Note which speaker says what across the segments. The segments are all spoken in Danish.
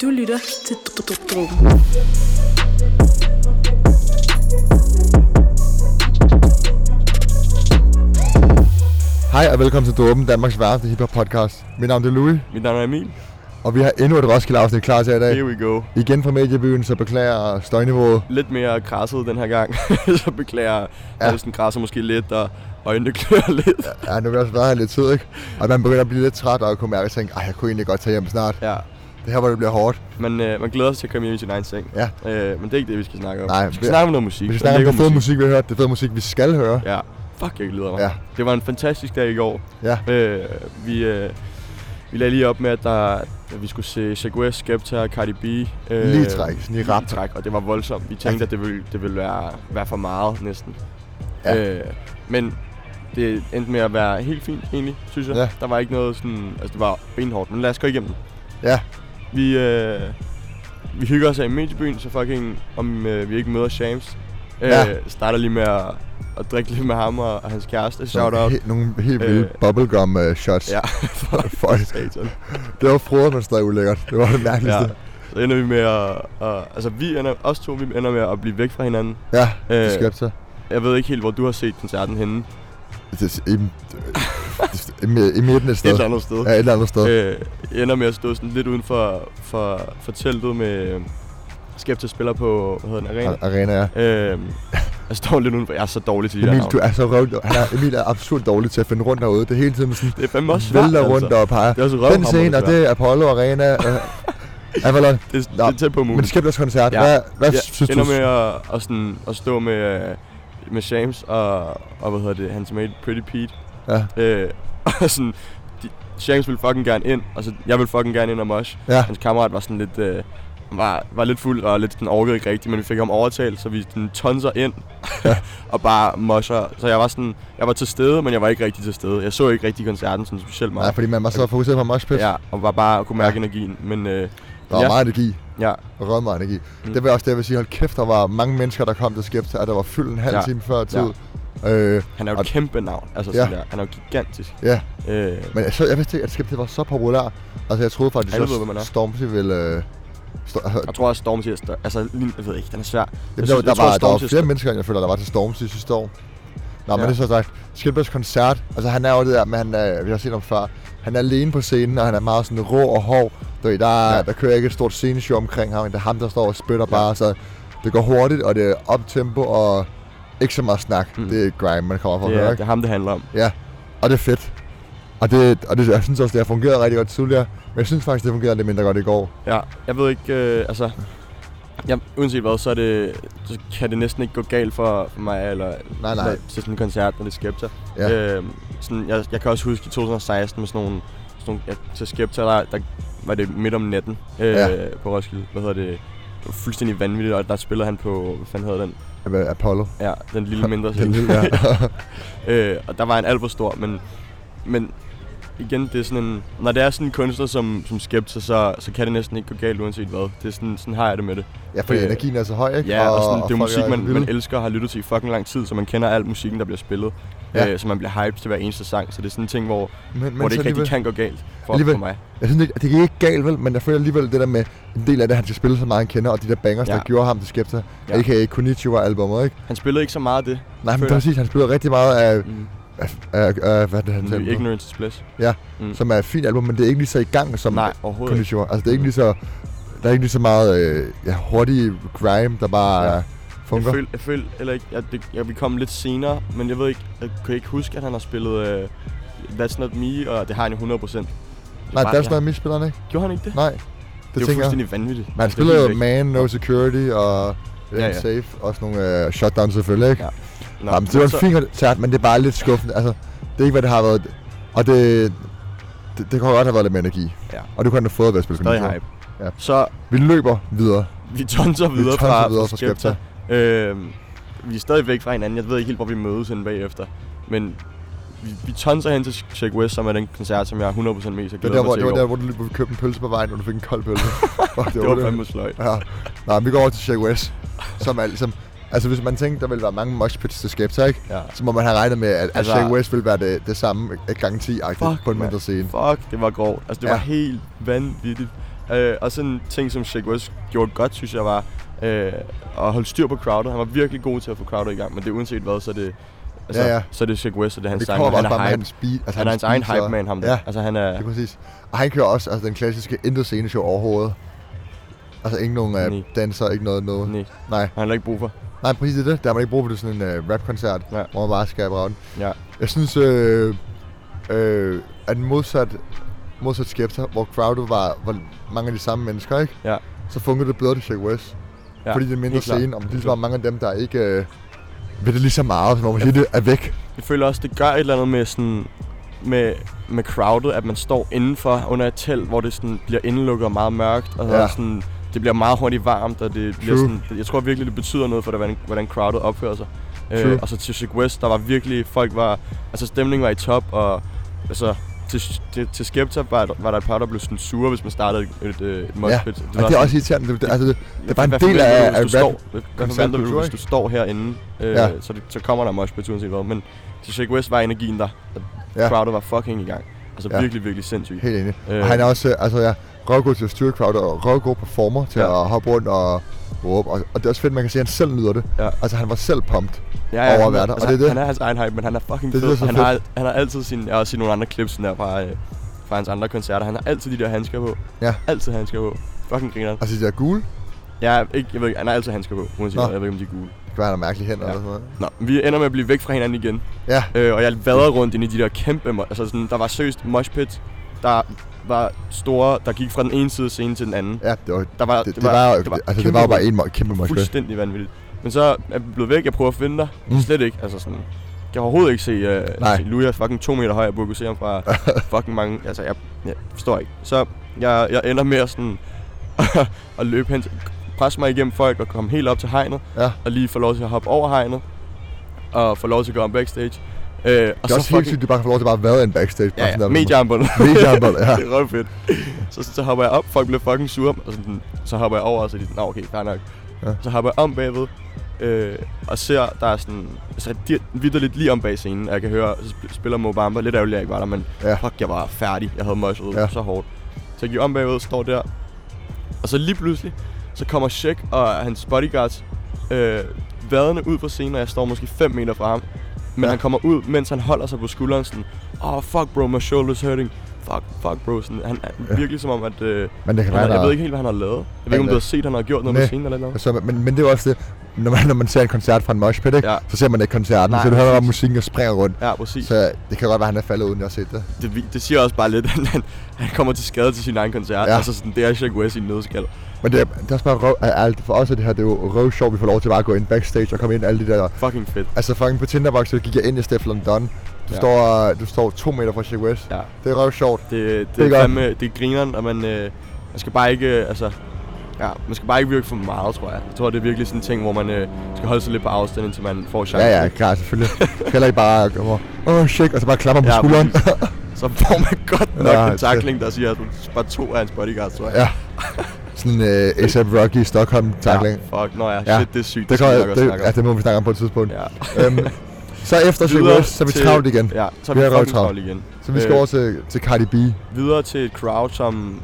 Speaker 1: Du lytter til Dråben.
Speaker 2: Hej og velkommen til Dråben, Danmarks værste hiphop podcast. Mit navn er Louis,
Speaker 3: Mit navn er Emil.
Speaker 2: og vi har endnu et Roskilde afsnit klar til i dag.
Speaker 3: Here we go.
Speaker 2: Igen fra mediebyen, så beklager støjniveauet.
Speaker 3: Lidt mere krasset den her gang. så beklager jeg. Ja. græsser måske lidt, og øjnene klør lidt.
Speaker 2: Ja, nu har vi også været her lidt tid, ikke? Og man begynder at blive lidt træt og kunne mærke og tænke, ej, jeg kunne egentlig godt tage hjem snart.
Speaker 3: Ja.
Speaker 2: Det her, hvor det bliver hårdt.
Speaker 3: Man, øh, man glæder sig til at komme hjem i sin egen seng.
Speaker 2: Ja.
Speaker 3: Øh, men det er ikke det, vi skal snakke om.
Speaker 2: Nej,
Speaker 3: vi
Speaker 2: vi-
Speaker 3: skal snakke om noget musik.
Speaker 2: Vi skal
Speaker 3: Der
Speaker 2: snakke om det
Speaker 3: ligger
Speaker 2: fede musik, vi har hørt. Det er fede musik, vi skal høre.
Speaker 3: Ja. Fuck, jeg glæder mig.
Speaker 2: Ja.
Speaker 3: Det var en fantastisk dag i går.
Speaker 2: Ja.
Speaker 3: Øh, vi, øh, vi lagde lige op med, at, der, at vi skulle se Shaq West, Skepta og Cardi B. Øh,
Speaker 2: Lige træk, sådan i rap.
Speaker 3: træk, og det var voldsomt. Vi tænkte,
Speaker 2: Ja.
Speaker 3: at det ville, det ville være, være for meget næsten.
Speaker 2: Ja.
Speaker 3: Øh, men det endte med at være helt fint, egentlig, synes jeg.
Speaker 2: Ja.
Speaker 3: Der var ikke noget sådan... Altså, det var benhårdt, men lad os gå igennem.
Speaker 2: Ja.
Speaker 3: Vi, øh, vi hygger os her i mediebyen, så fucking, om øh, vi ikke møder Shams. Øh,
Speaker 2: Ja.
Speaker 3: Starter lige med at, at drikke lidt med ham og, og hans kæreste. Shout
Speaker 2: Nogle
Speaker 3: out.
Speaker 2: he- Nogle helt vilde
Speaker 3: Øh.
Speaker 2: bubblegum øh, shots.
Speaker 3: Ja,
Speaker 2: For,
Speaker 3: satan.
Speaker 2: det var frodet, men stadig ulækkert. Det var det
Speaker 3: ja.
Speaker 2: mærkeligste.
Speaker 3: Så ender vi med at... at altså, vi ender, os to vi ender med at blive væk fra hinanden.
Speaker 2: Ja,
Speaker 3: Øh.
Speaker 2: det skørt så.
Speaker 3: Jeg ved ikke helt, hvor du har set koncerten henne.
Speaker 2: Det er i, i, i, i midten et
Speaker 3: Et
Speaker 2: sted.
Speaker 3: eller andet sted.
Speaker 2: Ja, et eller andet sted.
Speaker 3: Øh, jeg ender med at stå sådan lidt uden for, for, for teltet med Skepta spiller på, hvad hedder den, Arena?
Speaker 2: Ar- Arena, ja.
Speaker 3: Øh, jeg står lidt udenfor. Jeg er så dårlig til de
Speaker 2: Emil,
Speaker 3: der
Speaker 2: du
Speaker 3: navne.
Speaker 2: er så røv... Han er, Emil er absurd dårlig til at finde rundt herude. Det er hele tiden sådan,
Speaker 3: Det er fandme også svært, altså.
Speaker 2: vælter rundt og peger.
Speaker 3: Det er også altså.
Speaker 2: Den scene, og det er Apollo Arena. øh, Avalon.
Speaker 3: det, er- det
Speaker 2: Nå,
Speaker 3: er tæt på
Speaker 2: Men
Speaker 3: muligt.
Speaker 2: Skepters koncert,
Speaker 3: Ja.
Speaker 2: hvad, hvad
Speaker 3: Jeg
Speaker 2: synes du?
Speaker 3: ender med at, at, sådan, at stå med, øh, med James og, og, hvad hedder det, hans mate Pretty Pete.
Speaker 2: Ja,
Speaker 3: Øh, og sådan, de, James ville fucking gerne ind, og så jeg ville fucking gerne ind og mosh.
Speaker 2: ja,
Speaker 3: Hans kammerat var sådan lidt... Øh, var, var lidt fuld og lidt sådan orkede ikke rigtigt, men vi fik ham overtalt, så vi sådan tonser ind og bare mosher. Så jeg var sådan, jeg var til stede, men jeg var ikke rigtig til stede. Jeg så ikke rigtig koncerten sådan specielt
Speaker 2: nej,
Speaker 3: meget.
Speaker 2: fordi man var så fokuseret på moshpit.
Speaker 3: ja, og var bare kunne mærke energien, men øh,
Speaker 2: Der var
Speaker 3: ja. Mm.
Speaker 2: meget energi.
Speaker 3: ja,
Speaker 2: Rød meget energi. Det var også det, jeg vil sige. Hold kæft, der var mange mennesker, der kom til Skepta, og der var fyldt en halv
Speaker 3: Ja.
Speaker 2: time før tid. Øh,
Speaker 3: han er jo
Speaker 2: Og-
Speaker 3: et kæmpe navn, altså
Speaker 2: Ja.
Speaker 3: sådan der. Han er jo gigantisk.
Speaker 2: ja,
Speaker 3: Øh,
Speaker 2: men jeg, så, jeg vidste ikke, at Skepta var så populær. Altså, jeg troede faktisk,
Speaker 3: Alle ved, hvem man er.
Speaker 2: at Stormzy ville... Øh, stå, altså,
Speaker 3: jeg tror også Stormzy er større. Altså, lige- jeg ved ikke, den er svær. Jeg
Speaker 2: Jamen,
Speaker 3: synes-
Speaker 2: der,
Speaker 3: jeg
Speaker 2: der,
Speaker 3: tror,
Speaker 2: var, der var
Speaker 3: Stormzy er
Speaker 2: flere mennesker, end jeg føler, der var til Stormzy sidste år. Nå, men
Speaker 3: Ja.
Speaker 2: det er så sagt. Skilbergs koncert, altså han er jo det der, men han er, vi har set ham før. Han er alene på scenen, og han er meget sådan rå og hård. Du ved, der, ja.
Speaker 3: Ja.
Speaker 2: der kører ikke et stort sceneshow omkring ham, det er ham, der står og spytter ja. bare, så det går hurtigt, og det er optempo, og ikke så meget snak. Mm.
Speaker 3: Mm.
Speaker 2: Det er grime, man kommer fra at
Speaker 3: Det er,
Speaker 2: høre,
Speaker 3: det
Speaker 2: ikke?
Speaker 3: er ham, det handler om.
Speaker 2: Ja, og det er fedt. Og, det, og det, jeg synes også, det har fungeret rigtig godt tidligere, men jeg synes faktisk, det fungerede lidt mindre godt i går.
Speaker 3: Ja, jeg ved ikke, øh, altså... Jeg, uanset hvad, så, er det, så kan det næsten ikke gå galt for, for mig, eller
Speaker 2: Nej, nej.
Speaker 3: Når, til sådan en koncert, når det er Skepta.
Speaker 2: Ja.
Speaker 3: Øh, sådan, jeg, jeg kan også huske i 2016 med sådan nogle, sådan nogle ja, til Skepta, der, der var det midt om natten øh,
Speaker 2: Ja.
Speaker 3: ja. på Roskilde. Hvad hedder det? Det var fuldstændig vanvittigt, og der spillede han på, hvad fanden hedder den?
Speaker 2: Jamen, Apollo.
Speaker 3: Ja, den lille mindre
Speaker 2: Den
Speaker 3: scene.
Speaker 2: lille, ja.
Speaker 3: Øh, og der var en alt for stor, men, men igen, det er sådan en, når det er sådan en kunstner som, som Skepta, så, så kan det næsten ikke gå galt uanset hvad. Det er sådan, sådan har jeg det med det.
Speaker 2: Ja, fordi
Speaker 3: Øh,
Speaker 2: energien er så høj, ikke?
Speaker 3: Ja, og, og sådan, det er
Speaker 2: folk
Speaker 3: musik, man,
Speaker 2: vilde.
Speaker 3: man elsker og har lyttet til i fucking lang tid, så man kender alt musikken, der bliver spillet.
Speaker 2: Ja.
Speaker 3: Ja. Øh, så man bliver hyped til hver eneste sang, så det er sådan en ting, hvor,
Speaker 2: Men, men
Speaker 3: hvor det
Speaker 2: så
Speaker 3: ikke rigtig
Speaker 2: alligevel-
Speaker 3: kan gå galt for,
Speaker 2: alligevel-
Speaker 3: for mig.
Speaker 2: Jeg synes ikke, det gik ikke galt, vel? Men jeg føler alligevel det der med en del af det, han skal spille så meget, han kender, og de der bangers, ja.
Speaker 3: Ja.
Speaker 2: der gjorde ham til Skepta. Ja.
Speaker 3: Ja.
Speaker 2: A.k.a. Konnichiwa-albumet, ikke?
Speaker 3: Han spillede ikke så meget af det.
Speaker 2: Nej, men
Speaker 3: føler jeg.
Speaker 2: præcis, han spiller rigtig meget af,
Speaker 3: Mm.
Speaker 2: af, af, af hvad er det han
Speaker 3: Ny
Speaker 2: selv,
Speaker 3: Ignorance is Bliss. Mm.
Speaker 2: som er et fint album, men det er ikke lige så i gang som
Speaker 3: Nej, overhovedet ikke.
Speaker 2: Konnichiwa. Altså, det er ikke lige så, der er ikke lige så meget øh, ja, hurtig grime, der bare ja.
Speaker 3: Ja. Jeg
Speaker 2: fungerer.
Speaker 3: føl, jeg føl, eller ikke, at det, jeg vil komme lidt senere, men jeg ved ikke, jeg kan ikke huske, at han har spillet øh, That's Not Me, og det har han jo 100%. Det er
Speaker 2: Nej,
Speaker 3: bare-
Speaker 2: der er
Speaker 3: jeg-
Speaker 2: sådan misspillerne, ikke?
Speaker 3: Gjorde han ikke det?
Speaker 2: Nej, det,
Speaker 3: det er jo
Speaker 2: tænker jeg.
Speaker 3: fuldstændig vanvittigt.
Speaker 2: Man
Speaker 3: Altså, det er
Speaker 2: spiller jo
Speaker 3: helt væk.
Speaker 2: Man, No Security og
Speaker 3: Ja,
Speaker 2: ja,
Speaker 3: ja.
Speaker 2: Safe, også nogle øh, Shutdown selvfølgelig, ikke?
Speaker 3: Ja. Nå,
Speaker 2: Nå, Jamen, det var
Speaker 3: så-
Speaker 2: en fin koncert, men det er bare lidt skuffende. Altså, det er ikke, hvad det har været. Og det, det, det kunne godt have været lidt mere energi.
Speaker 3: Ja.
Speaker 2: Og du kunne have fået ved at spille
Speaker 3: Stadig
Speaker 2: Konnichiwa.
Speaker 3: hype.
Speaker 2: Ja.
Speaker 3: Ja. Så
Speaker 2: Vi løber videre.
Speaker 3: vi tonser videre
Speaker 2: tonser
Speaker 3: fra,
Speaker 2: videre
Speaker 3: videre
Speaker 2: fra
Speaker 3: fra
Speaker 2: Skepta.
Speaker 3: Skepta. Øhm, vi er stadig væk fra hinanden. Jeg ved ikke helt, hvor vi mødes henne bagefter. Men vi, vi tonser hen til Check West, som er den koncert, som jeg er 100% mest
Speaker 2: Det
Speaker 3: har
Speaker 2: var
Speaker 3: glædet
Speaker 2: der,
Speaker 3: mig
Speaker 2: hvor,
Speaker 3: til
Speaker 2: det var
Speaker 3: i
Speaker 2: der,
Speaker 3: år.
Speaker 2: hvor du lige købte en pølse på vejen, og du fik en kold pølse. Fuck,
Speaker 3: Det var fandme sløjt.
Speaker 2: Ja. Nej, vi går over til Shaq West, som er ligesom... Altså, hvis man tænkte, der ville være mange moshpits til Skepta, ikke?
Speaker 3: Ja.
Speaker 2: Så må man have regnet med, at, at
Speaker 3: Altså-
Speaker 2: Shaq West ville være det, det samme garanti-agtigt
Speaker 3: Fuck,
Speaker 2: på en
Speaker 3: mand.
Speaker 2: mindre scene.
Speaker 3: Fuck, det var grovt. Altså, det
Speaker 2: Ja.
Speaker 3: ja. var helt vanvittigt. Øh, og sådan en ting, som Shake West gjorde godt, synes jeg var øh, at holde styr på crowdet. Han var virkelig god til at få crowdet i gang, men det er uanset hvad, så er det, altså,
Speaker 2: Ja, ja.
Speaker 3: Så er det Shake West, og det er hans
Speaker 2: det
Speaker 3: sang.
Speaker 2: kommer
Speaker 3: Han
Speaker 2: også
Speaker 3: er
Speaker 2: bare med
Speaker 3: hype.
Speaker 2: hans beat. Altså,
Speaker 3: Han er hans egen
Speaker 2: beats og-
Speaker 3: hype man, ham der.
Speaker 2: Ja,
Speaker 3: Altså, han
Speaker 2: det
Speaker 3: er...
Speaker 2: er præcis. Og han kører også altså, den klassiske intet sceneshow overhovedet. Altså ikke nogen
Speaker 3: Nej.
Speaker 2: øh, danser, ikke noget, noget.
Speaker 3: Nej,
Speaker 2: Nej,
Speaker 3: han har ikke brug for.
Speaker 2: nej, præcis det er det. Der har man ikke brug for det er sådan en øh, rapkoncert,
Speaker 3: Ja.
Speaker 2: hvor man bare skal brage den.
Speaker 3: Ja.
Speaker 2: Jeg synes, øh, øh, at modsat, modsat Skepta, hvor crowdet var, var mange af de samme mennesker, ikke?
Speaker 3: Ja.
Speaker 2: så fungerede det bedre til Shake West.
Speaker 3: Ja,
Speaker 2: Ja, fordi det er en mindre
Speaker 3: helt klart.
Speaker 2: scene, og
Speaker 3: Helt
Speaker 2: lige så
Speaker 3: klart.
Speaker 2: mange af dem, der ikke øh, ved det lige så meget, som om man siger, det er væk.
Speaker 3: Jeg føler også, det gør et eller andet med sådan med, med crowdet, at man står indenfor under et telt, hvor det sådan bliver indelukket og meget mørkt, og
Speaker 2: Ja.
Speaker 3: ja. sådan, det bliver meget hurtigt varmt, og det bliver
Speaker 2: True.
Speaker 3: sådan, jeg tror virkelig, det betyder noget for, hvordan, hvordan crowdet opfører sig. Øh,
Speaker 2: True.
Speaker 3: og så til Chic West, der var virkelig, folk var, altså stemningen var i top, og altså, til, til, til Skepta var, der- var der et par, der blev sådan sure, hvis man startede et, et, øh, et moshpit.
Speaker 2: Ja,
Speaker 3: var
Speaker 2: og det er
Speaker 3: sådan-
Speaker 2: også irriterende. Det, det, altså, det, det er bare en
Speaker 3: Hvad
Speaker 2: del
Speaker 3: forventer
Speaker 2: af,
Speaker 3: du,
Speaker 2: af
Speaker 3: hvis du
Speaker 2: rap.
Speaker 3: står- hvad- Hvad
Speaker 2: koncertkultur,
Speaker 3: forventer du, hvis
Speaker 2: ikke?
Speaker 3: du står herinde? Øh,
Speaker 2: Ja.
Speaker 3: så, det, så kommer der moshpits uanset hvad. Men til Shake West var energien der. og
Speaker 2: Ja.
Speaker 3: Crowdet var fucking i gang. Altså
Speaker 2: Ja.
Speaker 3: virkelig, virkelig sindssygt.
Speaker 2: Helt enig.
Speaker 3: Øh.
Speaker 2: Øh. Han er også, øh, altså ja, røvgod til at styre crowd, og røvgod performer til
Speaker 3: Ja.
Speaker 2: ja. at hoppe rundt og råbe. Og, og det er også fedt, man kan se, at han selv nyder det.
Speaker 3: Ja.
Speaker 2: Altså, han var selv pumped.
Speaker 3: Ja, ja,
Speaker 2: overværet,
Speaker 3: han,
Speaker 2: og det er det.
Speaker 3: Han er hans egen hype, men han er fucking
Speaker 2: Det er
Speaker 3: fed.
Speaker 2: det, der er så
Speaker 3: han, Har, han har altid sin, jeg har også set nogle andre clips sådan der fra, øh, fra hans andre koncerter. Han har altid de der handsker på.
Speaker 2: Ja.
Speaker 3: Altid handsker på. Fucking griner.
Speaker 2: Altså, de der gule,
Speaker 3: Jeg, er ikke, jeg ved ikke, han har altid handsker på, uanset
Speaker 2: Nå.
Speaker 3: hvad. Jeg ved ikke, om de er gule.
Speaker 2: det kan være, han er mærkelig hen ja. eller sådan noget.
Speaker 3: Nå, vi ender med at blive væk fra hinanden igen.
Speaker 2: Ja,
Speaker 3: Øh, og jeg vadrede rundt ind i de der kæmpe, mo- altså sådan, der var seriøst moshpits, der var store, der gik fra den ene side af scenen til den anden.
Speaker 2: ja, det var,
Speaker 3: Der var,
Speaker 2: det, det, var, jo- altså, det
Speaker 3: kæmpe
Speaker 2: var jo bare
Speaker 3: rum.
Speaker 2: en mo- kæmpe mosh pit.
Speaker 3: Fuldstændig vanvittigt. Men så er vi blevet væk, jeg prøver at finde dig.
Speaker 2: Mm.
Speaker 3: Mm. Slet ikke, altså sådan, jeg kan overhovedet ikke se, øh,
Speaker 2: Nej.
Speaker 3: se Luja fucking to meter høj, jeg burde kunne se ham fra fucking mange, altså jeg, jeg forstår ikke. Så jeg, jeg ender med at sådan, at løbe hen, til- presse mig igennem folk og komme helt op til hegnet,
Speaker 2: Ja.
Speaker 3: og lige få lov til at hoppe over hegnet, og få lov til at gå om backstage. Øh, og
Speaker 2: Det er også helt sygt, at de bare får lov til at bare være en backstage. bare
Speaker 3: Ja,
Speaker 2: sådan
Speaker 3: ja.
Speaker 2: der-
Speaker 3: Mediearmbånd.
Speaker 2: Mediearmbånd, ja.
Speaker 3: det er røv fedt. Så, så hopper jeg op, folk bliver fucking sure, og så, så hopper jeg over, og så er de sådan, "Nå, okay, fair nok.
Speaker 2: Ja.
Speaker 3: Ja. Så hopper jeg om bagved, øh, og ser, der er sådan, altså vidderligt lige om bag scenen, og jeg kan høre, så sp- spiller Mo Bamba, lidt ærgerligt, at jeg ikke var der, men
Speaker 2: Ja.
Speaker 3: ja. fuck, jeg var færdig, jeg havde møjset
Speaker 2: Ja.
Speaker 3: ja. så hårdt. Så jeg gik om bagved, står der, og så lige pludselig, så kommer Sheik og hans bodyguards øh, vadende ud på scenen, og jeg står måske 5 meter fra ham. Men
Speaker 2: Ja.
Speaker 3: ja. han kommer ud, mens han holder sig på skulderen sådan, oh fuck bro, my shoulder's hurting. Fuck, fuck bro. Sådan, han er
Speaker 2: Ja.
Speaker 3: virkelig som om, at... Øh,
Speaker 2: Men det kan
Speaker 3: han,
Speaker 2: være,
Speaker 3: har- jeg
Speaker 2: der-
Speaker 3: ved ikke helt, hvad han har lavet. Jeg ved ikke, om
Speaker 2: Han
Speaker 3: du
Speaker 2: er-
Speaker 3: har set, at han har gjort noget
Speaker 2: Næ.
Speaker 3: på scenen eller noget.
Speaker 2: Så, Altså, men, men det er jo også det, når man, når man ser en koncert fra en mosh pit, ikke?
Speaker 3: Ja.
Speaker 2: så ser man ikke koncerten,
Speaker 3: Nej,
Speaker 2: så du hører bare
Speaker 3: præcis.
Speaker 2: musikken og springer rundt.
Speaker 3: Ja, præcis.
Speaker 2: Så det kan godt være, han er faldet uden, jeg har set det.
Speaker 3: det, vi- det siger også bare lidt, at han, han kommer til skade til sin egen koncert.
Speaker 2: Ja.
Speaker 3: Ja. Altså sådan, det er Shaq West i en nødskal.
Speaker 2: Men det er, det er også bare røv, alt for os er det her, det er jo røv sjovt, vi får lov til bare at gå ind backstage og komme ind alle de der...
Speaker 3: Fucking fedt.
Speaker 2: Altså fucking på Tinderbox, så gik jeg ind i Steff London. Du, ja.
Speaker 3: Ja.
Speaker 2: står, øh, du står to meter fra Shaq West.
Speaker 3: Ja.
Speaker 2: Det er røv sjovt.
Speaker 3: Det, det,
Speaker 2: Det er
Speaker 3: det,
Speaker 2: godt.
Speaker 3: er fandme, det er grineren, og man, øh, man skal bare ikke, øh, altså, ja, man skal bare ikke virke for meget, tror jeg. Jeg tror, det er virkelig sådan en ting, hvor man øh, skal holde sig lidt på afstand, indtil man får chancen.
Speaker 2: Ja, ja,
Speaker 3: ikke?
Speaker 2: klar, selvfølgelig. Heller ikke bare komme over, åh, Shaq, og så bare klapper på
Speaker 3: Ja,
Speaker 2: skulderen.
Speaker 3: præcis. Så får man godt nok
Speaker 2: Ja,
Speaker 3: ja, en
Speaker 2: det-
Speaker 3: takling, der siger, at du bare to af hans bodyguards, tror jeg.
Speaker 2: ja. Sådan en øh, A$AP Rocky i Stockholm takling.
Speaker 3: Ja, fuck, nå ja,
Speaker 2: Ja.
Speaker 3: ja. shit, det er sygt.
Speaker 2: Det,
Speaker 3: skal
Speaker 2: kommer,
Speaker 3: vi nok også
Speaker 2: det,
Speaker 3: snakke om.
Speaker 2: ja, det må vi snakke om på et tidspunkt.
Speaker 3: Ja.
Speaker 2: Øhm, så efter Shaq
Speaker 3: Videre
Speaker 2: West, så er vi
Speaker 3: til-
Speaker 2: travlt igen.
Speaker 3: Ja, så er
Speaker 2: Vi
Speaker 3: vi,
Speaker 2: er
Speaker 3: vi fucking
Speaker 2: røvtravlt.
Speaker 3: travlt igen.
Speaker 2: Så vi skal
Speaker 3: Øh,
Speaker 2: over til, til Cardi B.
Speaker 3: videre til et crowd, som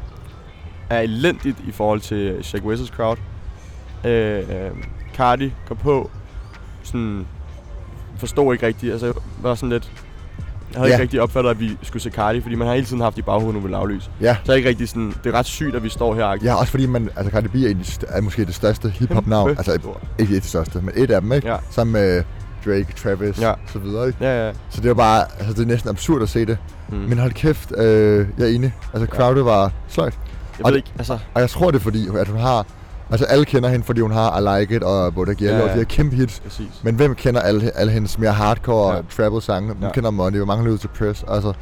Speaker 3: er elendigt i forhold til Shaq West's crowd. Øh, øh, Cardi går på, sådan, forstod ikke rigtigt, altså var sådan lidt, jeg havde
Speaker 2: Ja.
Speaker 3: ikke rigtig opfattet, at vi skulle se Cardi, fordi man har hele tiden haft i baghovedet, nu vil lavlys.
Speaker 2: Ja.
Speaker 3: Så er ikke rigtig sådan, det er ret sygt, at vi står her.
Speaker 2: Ja, også fordi man, altså Cardi B er, en, er måske det største hip-hop navn.
Speaker 3: Kæmpe
Speaker 2: Altså
Speaker 3: stor.
Speaker 2: ikke et af de største, men et af dem, ikke?
Speaker 3: Ja.
Speaker 2: Sammen med Drake, Travis
Speaker 3: Ja.
Speaker 2: og så videre, ikke?
Speaker 3: Ja, ja.
Speaker 2: Så det er jo bare, altså det er næsten absurd at se det.
Speaker 3: Mm.
Speaker 2: Men hold kæft, øh, jeg er enig. Altså
Speaker 3: Ja.
Speaker 2: crowdet var sløjt.
Speaker 3: jeg
Speaker 2: og
Speaker 3: ved
Speaker 2: det-
Speaker 3: ikke, altså,
Speaker 2: Og jeg tror det er fordi, at hun har, altså alle kender hende, fordi hun har I Like It og Bodak Yellow,
Speaker 3: Ja,
Speaker 2: og
Speaker 3: ja.
Speaker 2: de her kæmpe hits.
Speaker 3: præcis.
Speaker 2: Men hvem kender alle, alle hendes mere hardcore
Speaker 3: Ja.
Speaker 2: ja. travel sange? Hvem ja.
Speaker 3: Ja.
Speaker 2: kender Money? Hvor mange lyder til Press? Altså,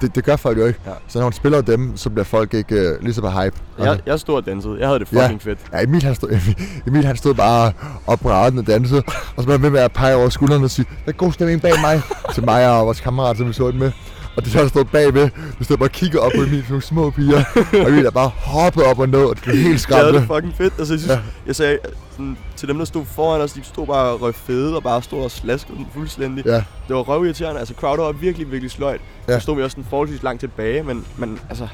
Speaker 2: det, det gør folk jo ikke. Ja.
Speaker 3: Ja.
Speaker 2: Så når hun spiller dem, så bliver folk ikke øh, lige så på hype. Altså,
Speaker 3: Jeg, jeg stod og dansede. Jeg havde det
Speaker 2: Ja.
Speaker 3: fucking fedt.
Speaker 2: Ja, Emil han, stod, Emil, han stod bare op på raden og dansede, og så var han ved med at pege over skulderen og sige, der er god stemning bag mig, til mig og vores kammerat, som vi så det med. Og det der stod bagved, vi stod bare og kiggede op på Emil, sådan nogle små piger, og Emil der bare hoppede op og ned, og det blev helt
Speaker 3: Jeg havde
Speaker 2: skræmmende.
Speaker 3: det fucking fedt. Altså, jeg, synes,
Speaker 2: Ja.
Speaker 3: ja. jeg sagde sådan, til dem, der stod foran os, de stod bare og røg fede og bare stod og slaskede den fuldstændig.
Speaker 2: Ja.
Speaker 3: Det var røvirriterende. Altså, crowdet var virkelig, virkelig sløjt.
Speaker 2: Ja.
Speaker 3: Ja. Nu stod vi også sådan forholdsvis langt tilbage, men, men altså...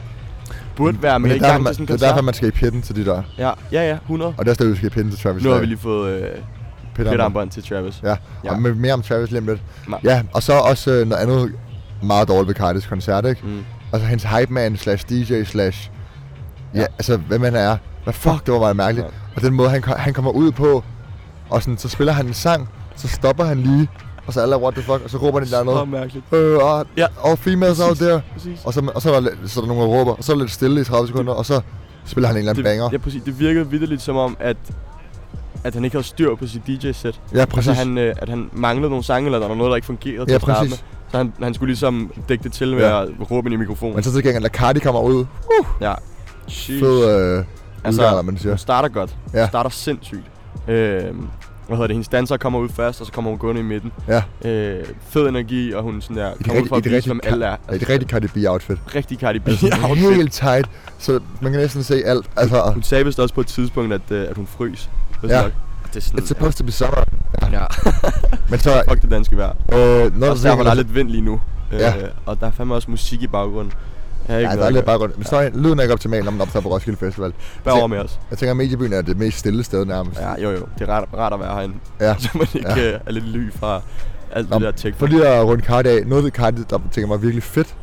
Speaker 3: burde være, men,
Speaker 2: Men det
Speaker 3: men jeg er
Speaker 2: er, derfor,
Speaker 3: ikke i gang
Speaker 2: man,
Speaker 3: til sådan en
Speaker 2: det er
Speaker 3: koncert.
Speaker 2: derfor, man skal i pitten til de der.
Speaker 3: Ja, ja, ja, 100.
Speaker 2: Og det er stadig, vi skal i pitten til Travis
Speaker 3: Nu har
Speaker 2: Scott.
Speaker 3: vi lige fået øh,
Speaker 2: Peter Amber.
Speaker 3: pletarbånd til Travis.
Speaker 2: Ja,
Speaker 3: Ja.
Speaker 2: ja. Og med, mere om Travis lige om lidt.
Speaker 3: Nej.
Speaker 2: Ja, og så også øh, noget andet meget dårligt ved Cardis koncert, ikke?
Speaker 3: Mm.
Speaker 2: Altså hendes hype man slash DJ slash... Ja,
Speaker 3: Ja.
Speaker 2: ja. altså hvem han er. Hvad fuck, det var meget mærkeligt.
Speaker 3: Ja.
Speaker 2: Og den måde, han, ko- han kommer ud på, og sådan, så spiller han en sang, så stopper han lige, og så alle er what the fuck, og så råber han et eller
Speaker 3: Så
Speaker 2: andet.
Speaker 3: mærkeligt.
Speaker 2: Øh, og,
Speaker 3: Ja.
Speaker 2: ja. og females out there.
Speaker 3: Præcis.
Speaker 2: Og så, og så, er der, lidt- så er der nogen, der råber, og så er der lidt stille i 30 sekunder, og så spiller han en eller anden
Speaker 3: det,
Speaker 2: banger.
Speaker 3: Ja, præcis. Det virkede vidderligt som om, at, at han ikke havde styr på sit DJ-sæt.
Speaker 2: Ja, præcis.
Speaker 3: Altså, han, øh, at han manglede nogle sange, eller der var noget, der ikke fungerede til
Speaker 2: Ja,
Speaker 3: at starte
Speaker 2: præcis.
Speaker 3: med. Så han, han skulle ligesom dække det til med
Speaker 2: Ja.
Speaker 3: at råbe ind i mikrofonen.
Speaker 2: Men så til gengæld, da Cardi kommer ud,
Speaker 3: ja. Sheesh.
Speaker 2: fed øh, altså, udgang, man
Speaker 3: hun
Speaker 2: siger.
Speaker 3: starter godt. Ja.
Speaker 2: Ja.
Speaker 3: Hun starter sindssygt. Øh, hvad hedder det? Hendes danser kommer ud først, og så kommer hun gående i midten.
Speaker 2: Ja,
Speaker 3: Øh, fed energi, og hun sådan der,
Speaker 2: det
Speaker 3: kommer ud
Speaker 2: rigtige-
Speaker 3: for at
Speaker 2: i det
Speaker 3: vise,
Speaker 2: rigtige
Speaker 3: hvem alle er. Altså,
Speaker 2: det er et rigtig Cardi B-outfit.
Speaker 3: rigtig Cardi B.
Speaker 2: Altså, ja,
Speaker 3: outfit.
Speaker 2: helt tight, så man kan næsten se alt. Altså,
Speaker 3: Hun sagde vist også på et tidspunkt, at, øh, at hun frøs. Hvis
Speaker 2: Ja.
Speaker 3: nok. Og Det er sådan,
Speaker 2: it's supposed to be summer.
Speaker 3: ja.
Speaker 2: Men så,
Speaker 3: Fuck det danske vejr.
Speaker 2: øh, når
Speaker 3: Og
Speaker 2: du
Speaker 3: så
Speaker 2: ser,
Speaker 3: er der er lidt vind lige nu.
Speaker 2: Ja.
Speaker 3: Øh, og der er fandme også musik i baggrunden. Jeg har ikke
Speaker 2: Ja,
Speaker 3: noget
Speaker 2: der er
Speaker 3: at
Speaker 2: lidt
Speaker 3: gøre.
Speaker 2: baggrund. Men så lyden er ikke optimal, når man optager på Roskilde Festival.
Speaker 3: Bær over med os.
Speaker 2: Jeg tænker, at mediebyen er det mest stille sted nærmest.
Speaker 3: Ja, jo jo. Det er rart, rart at være herinde.
Speaker 2: Ja.
Speaker 3: Så man ikke ja. er lidt ly fra alt
Speaker 2: Nå,
Speaker 3: det der tech.
Speaker 2: for lige at runde Cardi af, noget af det Cardi, der tænker mig virkelig fedt,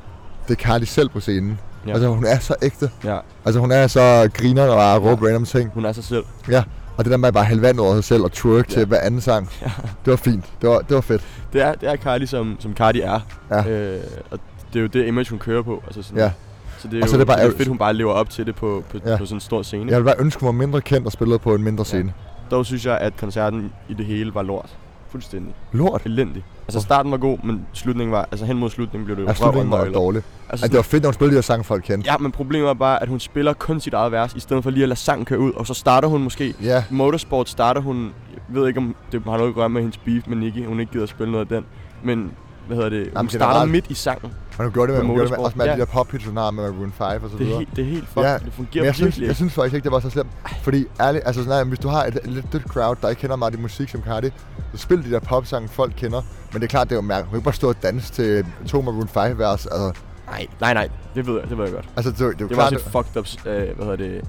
Speaker 2: det er Cardi selv på scenen.
Speaker 3: Ja.
Speaker 2: Ja. Altså, hun er så ægte.
Speaker 3: Ja,
Speaker 2: Altså, hun er så griner og bare råber random ting.
Speaker 3: hun er sig selv.
Speaker 2: Ja, og det der med at bare hælde vand over sig selv og twerk ja.
Speaker 3: Ja.
Speaker 2: til hver anden sang, ja. det var fint. Det var, det var fedt.
Speaker 3: Det er, det er Cardi, som, som Cardi er.
Speaker 2: Ja.
Speaker 3: Øh, og det er jo det image, hun kører på. Altså sådan,
Speaker 2: Ja.
Speaker 3: Så det er,
Speaker 2: Og
Speaker 3: jo,
Speaker 2: så er det bare
Speaker 3: det er
Speaker 2: ærgerligt.
Speaker 3: fedt, hun bare lever op til det på, på, ja.
Speaker 2: Ja.
Speaker 3: på sådan en stor scene.
Speaker 2: Jeg ville bare ønske, hun var mindre kendt og spillede på en mindre scene.
Speaker 3: Dog synes jeg, at koncerten i det hele var lort. Fuldstændig.
Speaker 2: Lort.
Speaker 3: Elendig. Altså
Speaker 2: Hvorfor?
Speaker 3: starten var god, men slutningen var... Altså hen mod slutningen blev det jo
Speaker 2: Ja,
Speaker 3: røv og
Speaker 2: slutningen var
Speaker 3: nøgler.
Speaker 2: dårlig.
Speaker 3: Altså,
Speaker 2: Altså, det var fedt, når hun spillede de her sange, folk kendte.
Speaker 3: Ja, men problemet er bare, at hun spiller kun sit eget vers, i stedet for lige at lade sangen køre ud, og så starter hun måske...
Speaker 2: Ja.
Speaker 3: Motorsport starter hun... Jeg ved ikke, om det har noget at gøre med hendes beef med Nicki, hun ikke gider at spille noget af den, men hvad hedder det? Hun
Speaker 2: Jamen,
Speaker 3: starter
Speaker 2: generelt.
Speaker 3: midt i sangen.
Speaker 2: Og hun gjorde det med,
Speaker 3: Med
Speaker 2: hun gjorde det med,
Speaker 3: motorsport.
Speaker 2: også med alle
Speaker 3: Ja.
Speaker 2: de der pop hits, hun har med Maroon 5 og så
Speaker 3: Det er,
Speaker 2: videre.
Speaker 3: helt, det er helt fucking...
Speaker 2: Ja,
Speaker 3: Det fungerer
Speaker 2: Men jeg
Speaker 3: virkelig
Speaker 2: synes, jeg synes faktisk ikke, det var så slemt. Fordi ærligt, altså sådan, her, hvis du har et lidt dødt crowd, der ikke kender meget af din musik som Cardi, så spil de der popsange, folk kender. Men det er klart, det er jo mærkeligt. Hun kan ikke bare stå og danse til to Maroon 5 vers. Altså,
Speaker 3: Nej, nej, nej. Det ved jeg, det ved jeg godt.
Speaker 2: altså det, er jo- det er jo
Speaker 3: Det var
Speaker 2: klart,
Speaker 3: også et fucked up, øh, hvad hedder det,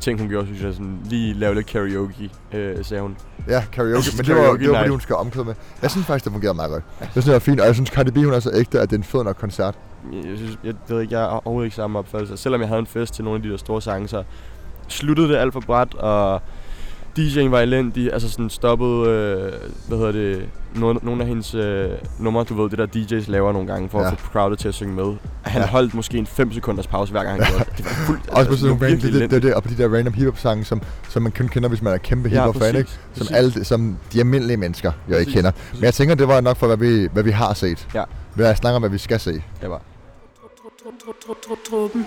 Speaker 3: ting hun gjorde, synes jeg, sådan lige lave lidt karaoke, øh, sagde hun.
Speaker 2: Ja, karaoke.
Speaker 3: synes,
Speaker 2: men det var, det var,
Speaker 3: Altså, karaoke er nice.
Speaker 2: fordi, hun skal omkøde med. Jeg synes faktisk, det fungerede meget godt. Jeg synes, det var fint, og jeg synes, Cardi B, hun er så ægte, at det er en fed nok koncert.
Speaker 3: Jeg, synes, jeg ved ikke, jeg har overhovedet ikke samme opfattelse. Selvom jeg havde en fest til nogle af de der store sange, så sluttede det alt for bræt, og DJ'en var elendig, altså sådan stoppede, øh, hvad hedder det, nogle, nogle af hendes øh, numre, du ved, det der DJ's laver nogle gange, for ja.
Speaker 2: Ja.
Speaker 3: at få crowded til at synge med. Han ja.
Speaker 2: Ja.
Speaker 3: holdt måske en 5 sekunders pause, hver gang han gjorde det. Det var fuldt,
Speaker 2: Også på sådan
Speaker 3: Altså, det var
Speaker 2: nogle random,
Speaker 3: virkelig
Speaker 2: det, det, det,
Speaker 3: elendigt.
Speaker 2: det, og på de der random hip-hop sange, som, som man kun kender, hvis man er kæmpe
Speaker 3: Ja,
Speaker 2: hip-hop fan,
Speaker 3: præcis,
Speaker 2: ikke? Som,
Speaker 3: præcis.
Speaker 2: alle, som de almindelige mennesker jo ikke
Speaker 3: Præcis,
Speaker 2: kender. Men jeg tænker, det var nok for, hvad vi, hvad vi har set.
Speaker 3: Ja.
Speaker 2: Hvad jeg snakker om, hvad vi skal se.
Speaker 3: Det var.
Speaker 1: Truppen.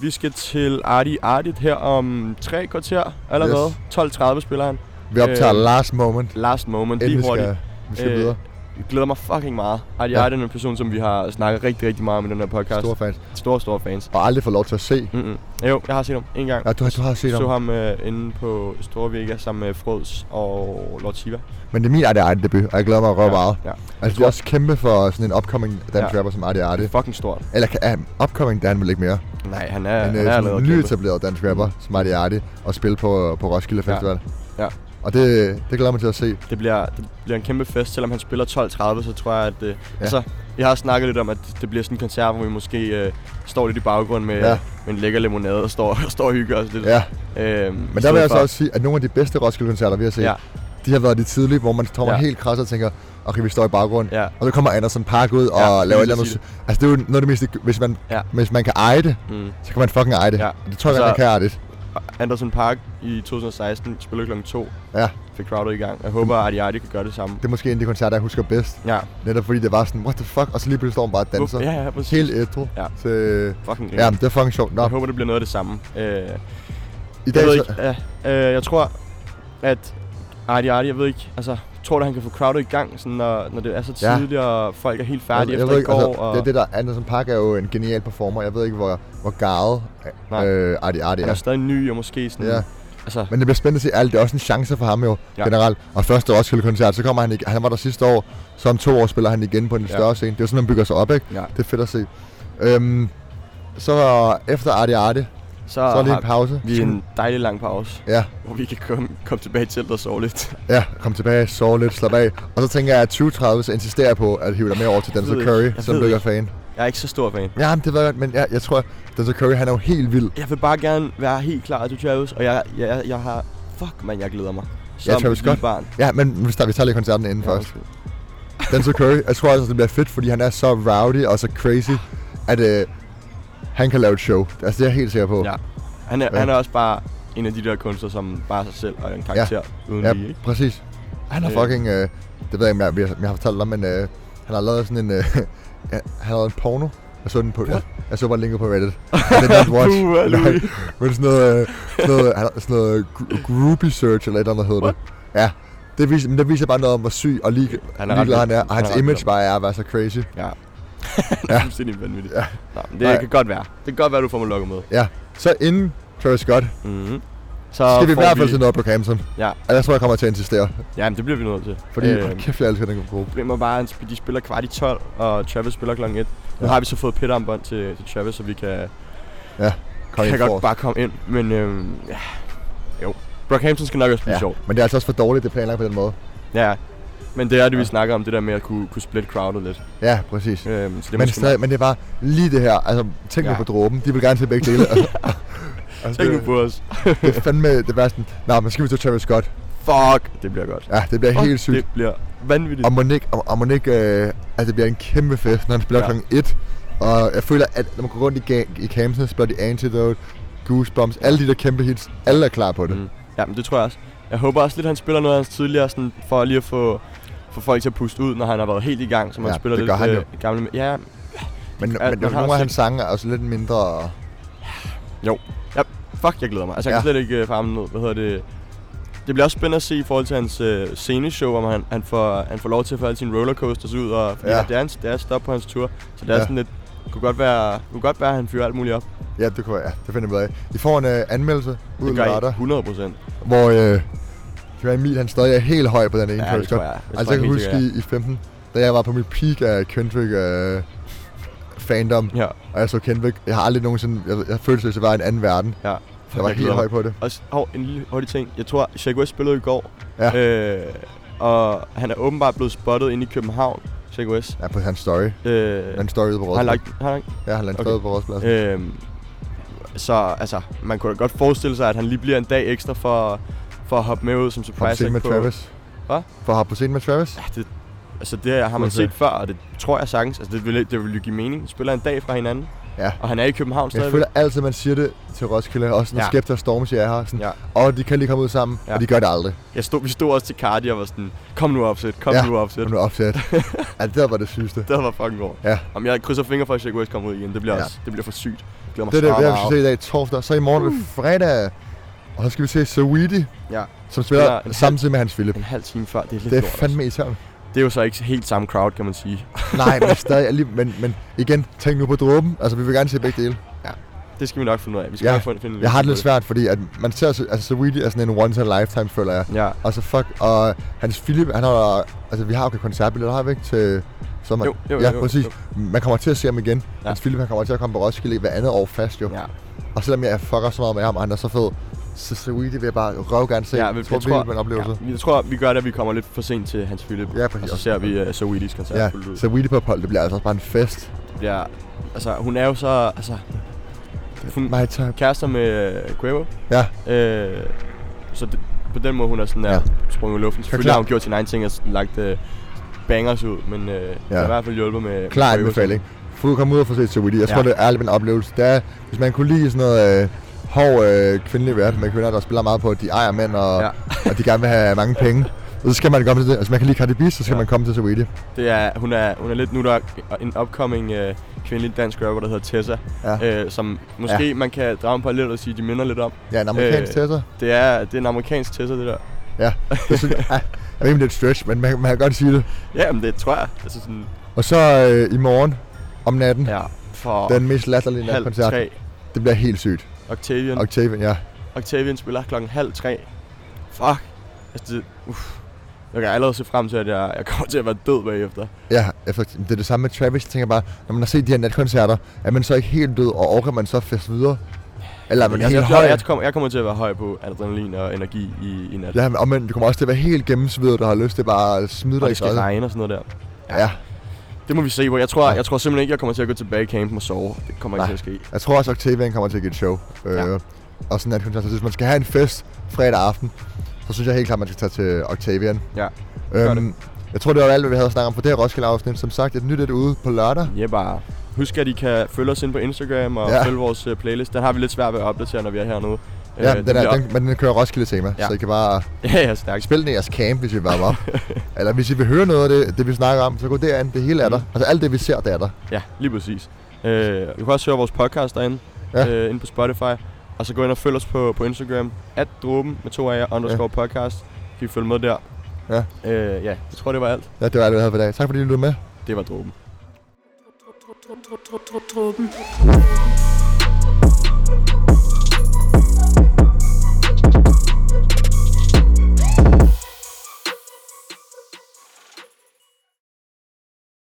Speaker 3: Vi skal til Arti Artit her om tre kvarter allerede. Yes. 12.30 spiller han.
Speaker 2: Vi optager
Speaker 3: Øh,
Speaker 2: øh, last moment,
Speaker 3: Last moment, lige
Speaker 2: inden vi
Speaker 3: hurtigt.
Speaker 2: skal, vi skal øh, videre.
Speaker 3: Jeg glæder mig fucking meget. Arti
Speaker 2: Ja.
Speaker 3: ja. Artit er en person, som vi har snakket rigtig, rigtig meget om i den her podcast.
Speaker 2: Store fans.
Speaker 3: store, store fans.
Speaker 2: Og aldrig får lov til at se.
Speaker 3: Mm-mm. Jo, jeg har set ham en gang.
Speaker 2: Ja, du, har- du har set
Speaker 3: Jeg så
Speaker 2: ham.
Speaker 3: ham øh, inde på Store Vega sammen med Frøds og Lord Shiva.
Speaker 2: Men det er min Artie Artie debut, og jeg glæder mig røv
Speaker 3: Ja,
Speaker 2: meget.
Speaker 3: ja.
Speaker 2: Altså, det er også kæmpe for sådan en upcoming dansk
Speaker 3: Ja.
Speaker 2: rapper som Artie
Speaker 3: Det
Speaker 2: Artie.
Speaker 3: er fucking stort.
Speaker 2: Eller kan- er han upcoming, der er han vel ikke mere.
Speaker 3: Nej, han er,
Speaker 2: en
Speaker 3: han
Speaker 2: øh,
Speaker 3: er
Speaker 2: sådan
Speaker 3: allerede kæmpe. Mm.
Speaker 2: nyetableret dansk rapper, som Artie Artie, og spille på, på Roskilde
Speaker 3: Ja. Mm.
Speaker 2: Festival.
Speaker 3: Ja.
Speaker 2: Og det, det glæder jeg mig til at se.
Speaker 3: Det bliver, det bliver en kæmpe fest, selvom han spiller 12.30, så tror jeg, at... Øh, ja.
Speaker 2: Ja.
Speaker 3: Altså, jeg har snakket lidt om, at det bliver sådan en koncert, hvor vi måske øh, står lidt i baggrunden med, ja.
Speaker 2: Ja.
Speaker 3: med en lækker limonade og står, står og hygger os lidt.
Speaker 2: Ja,
Speaker 3: Øhm,
Speaker 2: men der vil jeg så også sige, at nogle af de bedste Roskilde-koncerter, vi har set,
Speaker 3: Ja.
Speaker 2: ja. de har været de tidlige, hvor man kommer
Speaker 3: Ja.
Speaker 2: ja. helt krads og tænker, okay, vi står i baggrunden.
Speaker 3: Ja.
Speaker 2: Og så kommer Andersen Park ud og
Speaker 3: Ja,
Speaker 2: ja,
Speaker 3: jeg
Speaker 2: laver et
Speaker 3: skulle
Speaker 2: eller
Speaker 3: lige
Speaker 2: andet.
Speaker 3: sige
Speaker 2: sy- Altså det er jo noget af det meste, hvis man,
Speaker 3: Ja.
Speaker 2: ja. hvis man kan eje det,
Speaker 3: Mm.
Speaker 2: så kan man fucking eje det.
Speaker 3: Ja.
Speaker 2: Ja. Det tror jeg,
Speaker 3: Så-
Speaker 2: man kan eje det.
Speaker 3: Anderson Park i 2016 spillede klokken 2,
Speaker 2: Ja.
Speaker 3: fik crowdet i gang.
Speaker 2: Mm.
Speaker 3: Jeg håber, at Arti Arti kan gøre det samme.
Speaker 2: Det er måske en af de koncerter, jeg husker bedst.
Speaker 3: Ja,
Speaker 2: Netop fordi det var sådan, what the fuck, og så lige pludselig står man bare og danser.
Speaker 3: ja, ja, præcis.
Speaker 2: Helt ædru.
Speaker 3: Ja.
Speaker 2: Så, øh,
Speaker 3: Fucking
Speaker 2: ja, det er fucking sjovt. Nå,
Speaker 3: Jeg håber, det bliver noget af det samme. Øh,
Speaker 2: i
Speaker 3: jeg
Speaker 2: dag
Speaker 3: ved
Speaker 2: så,
Speaker 3: ikke, ja, øh, jeg tror, at Arti Arti, jeg ved ikke, altså, tror du, han kan få crowdet i gang, sådan, når, når det er så
Speaker 2: Ja.
Speaker 3: tidligt, og folk er helt færdige
Speaker 2: jeg
Speaker 3: efter
Speaker 2: ved
Speaker 3: i
Speaker 2: ikke,
Speaker 3: går,
Speaker 2: altså,
Speaker 3: og
Speaker 2: det, er det der, Andersen Park er jo en genial performer. Jeg ved ikke, hvor, hvor garet
Speaker 3: Nej.
Speaker 2: øh, Artie Artie
Speaker 3: han er
Speaker 2: er.
Speaker 3: stadig ny, og måske sådan,
Speaker 2: Ja.
Speaker 3: ja. Altså,
Speaker 2: Men det bliver spændende at se alt. Det er også en chance for ham jo,
Speaker 3: Ja.
Speaker 2: ja. generelt. Og første Roskilde-koncert, så kommer han ikke. Han var der sidste år, så om to år spiller han igen på en lidt
Speaker 3: Ja.
Speaker 2: større scene. Det er jo sådan, han bygger sig op, ikke?
Speaker 3: ja.
Speaker 2: Det er fedt at se. Øhm, så efter Arte Arte,
Speaker 3: Så,
Speaker 2: så er lige en
Speaker 3: har
Speaker 2: pause.
Speaker 3: vi en dejlig lang pause,
Speaker 2: Ja,
Speaker 3: hvor vi kan komme, komme tilbage til teltet og sove lidt.
Speaker 2: ja, kom tilbage, sove lidt, slap af. Og så tænker jeg, at 2030 så insisterer jeg på at hive dig med over til
Speaker 3: Jeg
Speaker 2: Denzel
Speaker 3: ved ikke.
Speaker 2: Curry,
Speaker 3: Jeg
Speaker 2: som
Speaker 3: ved
Speaker 2: du ikke er
Speaker 3: ikke.
Speaker 2: fan.
Speaker 3: Jeg er ikke så stor fan.
Speaker 2: Ja, men det ved jeg godt, men jeg, jeg tror, at Denzel Curry, han er jo helt vild.
Speaker 3: Jeg vil bare gerne være helt klar til Travis, og jeg, jeg, jeg har... Fuck, man, jeg glæder mig. Som
Speaker 2: Travis
Speaker 3: et lille
Speaker 2: Scott.
Speaker 3: barn.
Speaker 2: Ja, men vi tager, vi tager lige koncerten inden
Speaker 3: Ja,
Speaker 2: først.
Speaker 3: undskyld.
Speaker 2: Denzel Curry, jeg tror altså, det bliver fedt, fordi han er så rowdy og så crazy, at øh, han kan lave et show. Altså, det er jeg helt sikker på.
Speaker 3: Ja. Han er,
Speaker 2: Ja.
Speaker 3: han er også bare en af de der kunstnere, som bare er sig selv og er en karakter ja. uden ja. lige,
Speaker 2: ja
Speaker 3: ikke?
Speaker 2: præcis. Han har
Speaker 3: Øh.
Speaker 2: fucking... Øh, det ved jeg ikke, om jeg, om jeg har fortalt dig, men øh, han har lavet sådan en... Øh, han har lavet en porno. Jeg så den på... Jeg, jeg så bare linket på Reddit. I did not watch.
Speaker 3: Puh, hvad, Louis.
Speaker 2: Nej, men sådan noget... Øh, sådan noget, han har- sådan noget gro- groupie search eller et eller andet hedder det. Ja. Det viser, men det viser bare noget om, hvor syg og lige,
Speaker 3: Han
Speaker 2: han
Speaker 3: er
Speaker 2: er,
Speaker 3: ret
Speaker 2: ligeglad han er.
Speaker 3: vild.
Speaker 2: Og
Speaker 3: Han er
Speaker 2: hans
Speaker 3: ret
Speaker 2: image
Speaker 3: vild.
Speaker 2: bare er at være så crazy.
Speaker 3: Ja. det er fuldstændig vanvittigt. Ja. Nå, men det
Speaker 2: Nej.
Speaker 3: kan godt være. Det kan godt være, du får mig lukket med.
Speaker 2: Ja. Så inden Travis Scott,
Speaker 3: Mm-hmm.
Speaker 2: så
Speaker 3: Så
Speaker 2: Mhm. skal vi i
Speaker 3: får
Speaker 2: hvert fald til Northampton.
Speaker 3: Ja.
Speaker 2: Ellers tror jeg, jeg kommer til at insistere.
Speaker 3: Jamen, det bliver vi nødt til.
Speaker 2: Fordi, øh,
Speaker 3: øh,
Speaker 2: kæft, jeg elsker den gruppe.
Speaker 3: problemet er bare, at de spiller kvart i 12, og Travis spiller klokken 1. Nu
Speaker 2: Ja.
Speaker 3: har vi så fået petarmbånd til, til Travis, så vi kan,
Speaker 2: Kom
Speaker 3: kan
Speaker 2: ind
Speaker 3: godt
Speaker 2: forrest.
Speaker 3: bare komme ind. Men øhm, ja. jo, Brockhampton skal nok også blive ja.
Speaker 2: Ja.
Speaker 3: sjov.
Speaker 2: Men det er altså også for dårligt, det er planlagt på den måde.
Speaker 3: Ja, men det er det, vi
Speaker 2: Ja.
Speaker 3: snakker om, det der med at kunne, kunne split crowdet lidt.
Speaker 2: Ja, præcis.
Speaker 3: Øhm, så det er
Speaker 2: men,
Speaker 3: måske
Speaker 2: stadig, men det var lige det her. Altså, tænk nu
Speaker 3: Ja.
Speaker 2: på dråben. De vil gerne se begge dele. altså,
Speaker 3: Tænk nu
Speaker 2: det,
Speaker 3: på os.
Speaker 2: det er fandme det værste. Nå, men skal vi til Travis Scott?
Speaker 3: Fuck, det bliver godt.
Speaker 2: Ja, det bliver
Speaker 3: Fuck,
Speaker 2: helt sygt.
Speaker 3: Det bliver vanvittigt.
Speaker 2: Og Monique, og, og Monique øh, altså, det bliver en kæmpe fest, når han spiller
Speaker 3: Ja.
Speaker 2: ja. klokken 1. Og jeg føler, at når man går rundt i, ga- i campsen, så spiller de Antidote, Goosebumps, alle de der kæmpe hits. Alle er klar på det.
Speaker 3: Mm. Ja, men det tror jeg også. Jeg håber også lidt, at han spiller noget af hans tidligere, sådan, for lige at få, få folk til at puste ud, når han har været helt i gang, så man
Speaker 2: Ja,
Speaker 3: spiller
Speaker 2: det
Speaker 3: lidt
Speaker 2: gør han jo.
Speaker 3: øh, gamle... Ja,
Speaker 2: Men,
Speaker 3: Ja,
Speaker 2: men
Speaker 3: man
Speaker 2: det
Speaker 3: har
Speaker 2: nogle af
Speaker 3: også
Speaker 2: hans sange er også lidt mindre...
Speaker 3: fuck, jeg glæder mig. Altså, jeg
Speaker 2: Ja.
Speaker 3: kan slet ikke øh, farme ned. Hvad hedder det? Det bliver også spændende at se i forhold til hans øh, sceneshow, om han, han, får, han får lov til at få alle sine rollercoasters ud, og fordi
Speaker 2: Ja.
Speaker 3: ja. det, er hans, det er et stop på hans tur, så det er ja.
Speaker 2: Ja.
Speaker 3: sådan lidt... Det kunne godt være, kunne godt være at han fyrer alt muligt op.
Speaker 2: Ja, det kunne være. Ja, det finder vi ud af. I får en øh, anmeldelse ud
Speaker 3: Det gør jeg
Speaker 2: lørdag,
Speaker 3: 100 procent.
Speaker 2: hvor øh, kan være Emil, han stadig er helt høj på den ene Travis Scott.
Speaker 3: jeg.
Speaker 2: Altså, jeg kan
Speaker 3: helt
Speaker 2: huske
Speaker 3: sikkert,
Speaker 2: i, i 15, da jeg var på mit peak af Kendrick øh, fandom,
Speaker 3: Ja,
Speaker 2: og jeg så Kendrick, jeg har aldrig nogensinde, jeg, jeg følte sig, at jeg var i en anden verden.
Speaker 3: ja.
Speaker 2: Jeg var
Speaker 3: jeg
Speaker 2: helt
Speaker 3: glæder
Speaker 2: høj på det.
Speaker 3: Og s- hov, en lille hurtig ting. Jeg tror, Shaq West spillede i går.
Speaker 2: Ja.
Speaker 3: Øh, og han er åbenbart blevet spottet inde i København, Shaq West.
Speaker 2: Ja, på hans story.
Speaker 3: Øh,
Speaker 2: Hans story ude på
Speaker 3: har han
Speaker 2: Rådspladsen.
Speaker 3: lagt, har han,
Speaker 2: Ja, han lagt
Speaker 3: okay.
Speaker 2: okay. på Rådspladsen.
Speaker 3: øh, så altså, man kunne da godt forestille sig, at han lige bliver en dag ekstra for, for at hoppe med ud som
Speaker 2: Har du
Speaker 3: surprise.
Speaker 2: set med
Speaker 3: act på-
Speaker 2: Travis?
Speaker 3: Hvad?
Speaker 2: For at hoppe på scenen med Travis?
Speaker 3: Ja, det, altså det har man
Speaker 2: Okay.
Speaker 3: set før, og det tror jeg sagtens. Altså det ville, det ville jo give mening. Spiller en dag fra hinanden,
Speaker 2: Ja.
Speaker 3: og han er i København
Speaker 2: Men
Speaker 3: stadigvæk.
Speaker 2: jeg føler altid, man siger det til Roskilde, også når
Speaker 3: Ja.
Speaker 2: ja. Skepta og Stormzy er her. Sådan,
Speaker 3: Ja.
Speaker 2: ja. Og de kan lige komme ud sammen,
Speaker 3: Ja.
Speaker 2: ja. og de gør det aldrig.
Speaker 3: Jeg stod, vi stod også til Cardi og var sådan, kom nu opsæt, kom
Speaker 2: Ja.
Speaker 3: nu opsæt.
Speaker 2: Kom nu opsat. altså, der var det sygeste.
Speaker 3: Det var fucking godt.
Speaker 2: Ja.
Speaker 3: Om jeg krydser fingre for, at Shaq West kommer ud igen. Det bliver, ja.
Speaker 2: Ja.
Speaker 3: også, det bliver for sygt. Jeg glæder mig
Speaker 2: Det er det,
Speaker 3: så
Speaker 2: det, er, vi
Speaker 3: meget.
Speaker 2: skal se i dag torsdag. Så i morgen
Speaker 3: Mm.
Speaker 2: er det fredag. Og så skal vi se Saweetie,
Speaker 3: Ja.
Speaker 2: som
Speaker 3: Spiller
Speaker 2: spiller
Speaker 3: en-
Speaker 2: samtidig med Hans Philip.
Speaker 3: En halv time før, det er lidt
Speaker 2: Det er
Speaker 3: lort, altså.
Speaker 2: fandme irriterende.
Speaker 3: Det er jo så ikke helt samme crowd, kan man sige.
Speaker 2: Nej, men stadig alligevel. Men, men igen, tænk nu på dråben. Altså, vi vil gerne se begge dele.
Speaker 3: Det skal vi nok finde ud af. Vi skal
Speaker 2: Ja.
Speaker 3: nok finde, finde en
Speaker 2: Jeg har det lidt
Speaker 3: løsning
Speaker 2: svært, fordi at man ser, altså, Saweetie er sådan en once in a lifetime, føler jeg.
Speaker 3: på det. Ja.
Speaker 2: Og så fuck, og Hans Philip, han har, altså vi har jo koncertbilletter, har vi ikke til sommer?
Speaker 3: Jo, jo,
Speaker 2: ja,
Speaker 3: jo, jo,
Speaker 2: præcis.
Speaker 3: jo.
Speaker 2: Man kommer til at se ham igen.
Speaker 3: Ja.
Speaker 2: Ja. Hans Philip, han kommer til at komme på Roskilde hver andet år fast, jo. Ja.
Speaker 3: Ja.
Speaker 2: Og selvom jeg fucker så meget med ham, og han er så fed, så Saweetie vil jeg bare røv gerne se.
Speaker 3: ja,
Speaker 2: jeg tror, det er en oplevelse.
Speaker 3: Ja, jeg tror, vi gør det, at vi kommer lidt for sent til Hans Philip.
Speaker 2: Ja, præcis.
Speaker 3: Og så ser vi uh, Saweeties koncert
Speaker 2: Ja,
Speaker 3: fuldt ud.
Speaker 2: så Weedy på ophold, det bliver altså også bare en fest.
Speaker 3: Ja. Altså, hun er jo så... Altså, hun
Speaker 2: My type.
Speaker 3: kærester med uh, Quavo.
Speaker 2: Ja,
Speaker 3: Øh, så det, på den måde, hun er sådan der, ja.
Speaker 2: Ja.
Speaker 3: sprunget i luften. Selvfølgelig
Speaker 2: klart.
Speaker 3: har hun gjort sin egen ting og sådan lagt øh, bangers ud, men øh, ja. har i hvert fald hjulpet med...
Speaker 2: klar
Speaker 3: med øvelsen.
Speaker 2: anbefaling. Få kom ud og få set Saweetie. Jeg
Speaker 3: Ja.
Speaker 2: tror, det er ærligt en oplevelse. Det er, hvis man kunne lide sådan noget øh, hård øh, kvindelig verden med kvinder, der spiller meget på, at de ejer mænd, og,
Speaker 3: Ja.
Speaker 2: ja. og de gerne vil have mange penge. Så skal man komme til det. Altså, man kan lide Cardi B, så skal
Speaker 3: Ja.
Speaker 2: ja. man komme til Saweetie.
Speaker 3: Det er, hun, er, hun er lidt nu der er en upcoming øh, kvindelig dansk rapper, der hedder Tessa, ja.
Speaker 2: Ja.
Speaker 3: øh, som måske ja. man kan drage en parallel og sige, de minder lidt om.
Speaker 2: Ja, en amerikansk
Speaker 3: Øh.
Speaker 2: øh. tæsser.
Speaker 3: Det er, det er en amerikansk Tessa, det der.
Speaker 2: Ja, det synes jeg, ah, jeg ved, om det er et stretch, men man, man kan godt sige det.
Speaker 3: Ja, men det tror jeg. Altså sådan,
Speaker 2: Og så øh, i morgen om natten, ja.
Speaker 3: ja, for
Speaker 2: den mest latterlige
Speaker 3: halv
Speaker 2: natkoncert.
Speaker 3: tre.
Speaker 2: Det bliver helt sygt.
Speaker 3: Octavian.
Speaker 2: Octavian, ja.
Speaker 3: Octavian spiller klokken halv tre. Fuck. Altså, det, uff. Jeg kan allerede se frem til, at jeg, jeg kommer til at være død bagefter.
Speaker 2: Ja, efter, det er det samme med Travis. Jeg tænker bare, når man har set de her natkoncerter, er man så ikke helt død, og orker man så fest videre? Eller er man
Speaker 3: jeg,
Speaker 2: helt
Speaker 3: jeg,
Speaker 2: høj?
Speaker 3: jeg, jeg, kommer, jeg kommer til at være høj på adrenalin og energi i, i nat.
Speaker 2: Ja, men omvendt, du kommer også til at være helt gennemsvidet, der har lyst til bare at smide
Speaker 3: og
Speaker 2: dig i
Speaker 3: det skal
Speaker 2: skrevet.
Speaker 3: regne og sådan noget der.
Speaker 2: Ja,
Speaker 3: Det må vi se på. Jeg tror,
Speaker 2: Ja.
Speaker 3: jeg tror simpelthen ikke, jeg kommer til at gå tilbage i campen og sove. Det kommer ikke
Speaker 2: Nej.
Speaker 3: til at ske.
Speaker 2: jeg tror også, at Octavian kommer til at give et show.
Speaker 3: Ja.
Speaker 2: Øh, og sådan at koncert, så hvis man skal have en fest fredag aften, så synes jeg helt klart, man skal tage til Octavian.
Speaker 3: Ja. Gør
Speaker 2: Øhm, jeg tror, det var alt, hvad vi havde at snakke om for det her Roskilde-afsnit. Som sagt, et nyt et ude på lørdag.
Speaker 3: Ja, bare husk, at I kan følge os ind på Instagram og
Speaker 2: Ja.
Speaker 3: ja. følge vores øh, playlist. Den har vi lidt svært ved at opdatere, når vi er hernede.
Speaker 2: Ja, den, er,
Speaker 3: Øh, bliver-
Speaker 2: den, men den kører Roskilde-tema,
Speaker 3: Ja.
Speaker 2: så I kan bare
Speaker 3: Ja, ja, stærkt.
Speaker 2: Spil den i jeres camp, hvis I varmer op. Eller hvis I vil høre noget af det, det vi snakker om, så gå derind. Det hele er der.
Speaker 3: Mm.
Speaker 2: Altså alt det, vi ser, det er der.
Speaker 3: Ja, lige præcis. Øh, du kan også høre vores podcast derinde,
Speaker 2: Ja.
Speaker 3: ja. øh, inde på Spotify. Og så gå ind og følg os på, på Instagram, at dråben med to af jer, underscore ja. podcast. Kan I følge med der.
Speaker 2: Ja.
Speaker 3: Øh, ja, jeg tror, det var alt.
Speaker 2: Ja, det var alt, hvad jeg havde for i dag. Tak fordi I lyttede med.
Speaker 3: Det var dråben.
Speaker 1: Dråben.